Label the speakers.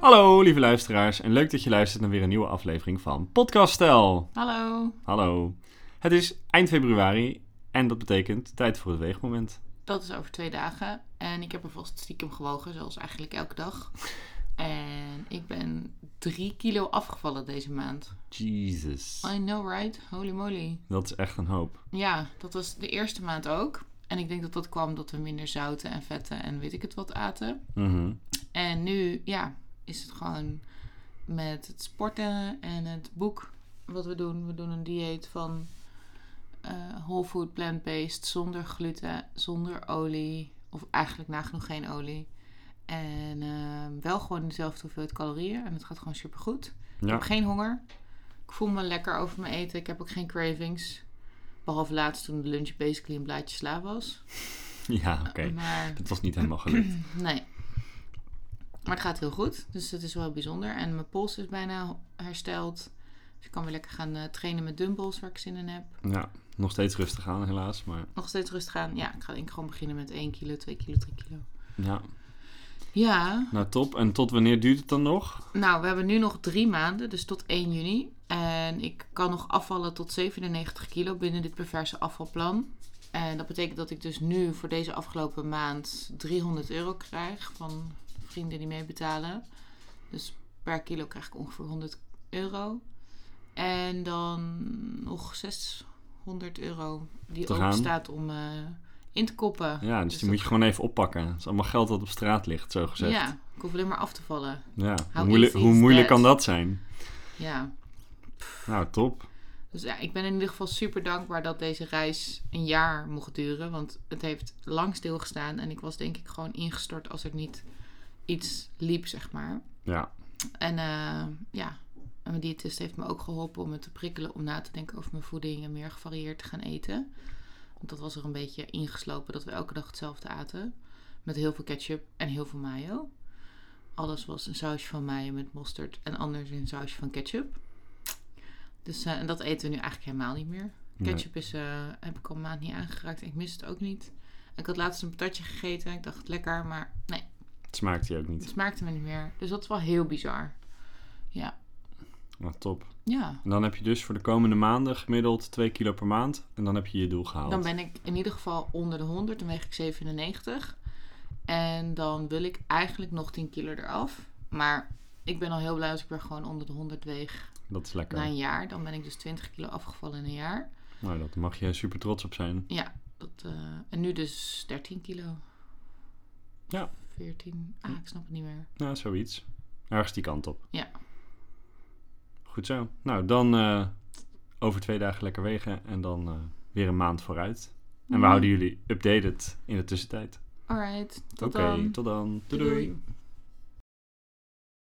Speaker 1: Hallo lieve luisteraars en leuk dat je luistert naar weer een nieuwe aflevering van Podcast Stel.
Speaker 2: Hallo.
Speaker 1: Hallo. Het is eind februari en dat betekent tijd voor het weegmoment.
Speaker 2: Dat is over twee dagen. En ik heb er vast stiekem gewogen, zoals eigenlijk elke dag. En ik ben drie kilo afgevallen deze maand.
Speaker 1: Jesus.
Speaker 2: I know, right? Holy moly.
Speaker 1: Dat is echt een hoop.
Speaker 2: Ja, dat was de eerste maand ook. En ik denk dat dat kwam dat we minder zouten en vetten en weet ik het wat aten.
Speaker 1: Mhm.
Speaker 2: En nu, ja, is het gewoon met het sporten en het boek wat we doen. We doen een dieet van eh, whole food plant-based, zonder gluten, zonder olie. Of eigenlijk nagenoeg geen olie. En eh, wel gewoon dezelfde hoeveelheid calorieën. En het gaat gewoon supergoed. Ik
Speaker 1: Ja.
Speaker 2: heb geen honger. Ik voel me lekker over mijn eten. Ik heb ook geen cravings. Behalve laatst toen de lunch basically een blaadje sla was.
Speaker 1: Ja, oké.
Speaker 2: Maar
Speaker 1: Het was niet helemaal gelukt.
Speaker 2: Nee. Maar het gaat heel goed. Dus dat is wel bijzonder. En mijn pols is bijna hersteld. Dus ik kan weer lekker gaan eh, trainen met dumbbells waar ik zin in heb.
Speaker 1: Ja, nog steeds rustig aan helaas, maar
Speaker 2: Nog steeds rustig aan. Ja, ik ga denk ik gewoon beginnen met 1 kilo, 2 kilo, 3 kilo.
Speaker 1: ja.
Speaker 2: Ja.
Speaker 1: Nou top. En tot wanneer duurt het dan nog?
Speaker 2: Nou, we hebben nu nog drie maanden. Dus tot 1 juni. En ik kan nog afvallen tot 97 kilo binnen dit perverse afvalplan. En dat betekent dat ik dus nu voor deze afgelopen maand 300 euro krijg van vrienden die meebetalen. Dus per kilo krijg ik ongeveer 100 euro. En dan nog 600 euro die
Speaker 1: Te gaan.
Speaker 2: ook staat om eh, in te koppen.
Speaker 1: Ja, dus,
Speaker 2: Dus
Speaker 1: die moet je gewoon even oppakken. Het is allemaal geld dat op straat ligt, zo gezegd.
Speaker 2: Ja, ik hoef alleen maar af te vallen.
Speaker 1: Ja. Hoe
Speaker 2: How
Speaker 1: moeilijk,
Speaker 2: easy
Speaker 1: hoe
Speaker 2: is
Speaker 1: moeilijk
Speaker 2: that?
Speaker 1: kan dat zijn?
Speaker 2: Ja.
Speaker 1: Nou, top.
Speaker 2: Dus ja, ik ben in ieder geval super dankbaar dat deze reis een jaar mocht duren. Want het heeft lang stilgestaan en ik was denk ik gewoon ingestort als er niet iets liep, zeg maar.
Speaker 1: Ja.
Speaker 2: En eh, ja, en mijn diëtist heeft me ook geholpen om me te prikkelen om na te denken over mijn voeding en meer gevarieerd te gaan eten. Want dat was er een beetje ingeslopen dat we elke dag hetzelfde aten. Met heel veel ketchup en heel veel mayo. Alles was een sausje van mayo met mosterd en anders een sausje van ketchup. Dus eh, en dat eten we nu eigenlijk helemaal niet meer.
Speaker 1: Nee.
Speaker 2: Ketchup is, eh, heb ik al een maand niet aangeraakt en ik mis het ook niet. Ik had laatst een patatje gegeten en ik dacht lekker, maar nee,
Speaker 1: Het smaakt je ook
Speaker 2: het
Speaker 1: niet.
Speaker 2: smaakte me niet meer. Dus dat is wel heel bizar. Ja.
Speaker 1: Nou, top.
Speaker 2: Ja.
Speaker 1: En dan heb je dus voor de komende maanden gemiddeld 2 kilo per maand. En dan heb je je doel gehaald.
Speaker 2: Dan ben ik in ieder geval onder de 100, dan weeg ik 97. En dan wil ik eigenlijk nog 10 kilo eraf. Maar ik ben al heel blij als ik weer gewoon onder de 100 weeg
Speaker 1: Dat is lekker.
Speaker 2: na een jaar. Dan ben ik dus 20 kilo afgevallen in een jaar.
Speaker 1: Nou, daar mag je super trots op zijn.
Speaker 2: Ja, dat, eh, en nu dus 13 kilo.
Speaker 1: Ja.
Speaker 2: 14. Ah, ik snap het niet meer.
Speaker 1: Nou, zoiets. Ergens die kant op.
Speaker 2: Ja.
Speaker 1: Goed zo. Nou, dan eh, over twee dagen lekker wegen. En dan eh, weer een maand vooruit. En we
Speaker 2: Mm.
Speaker 1: houden jullie updated in de tussentijd.
Speaker 2: Alright, tot
Speaker 1: Oké,
Speaker 2: dan.
Speaker 1: tot dan. doei. doei.
Speaker 2: doei.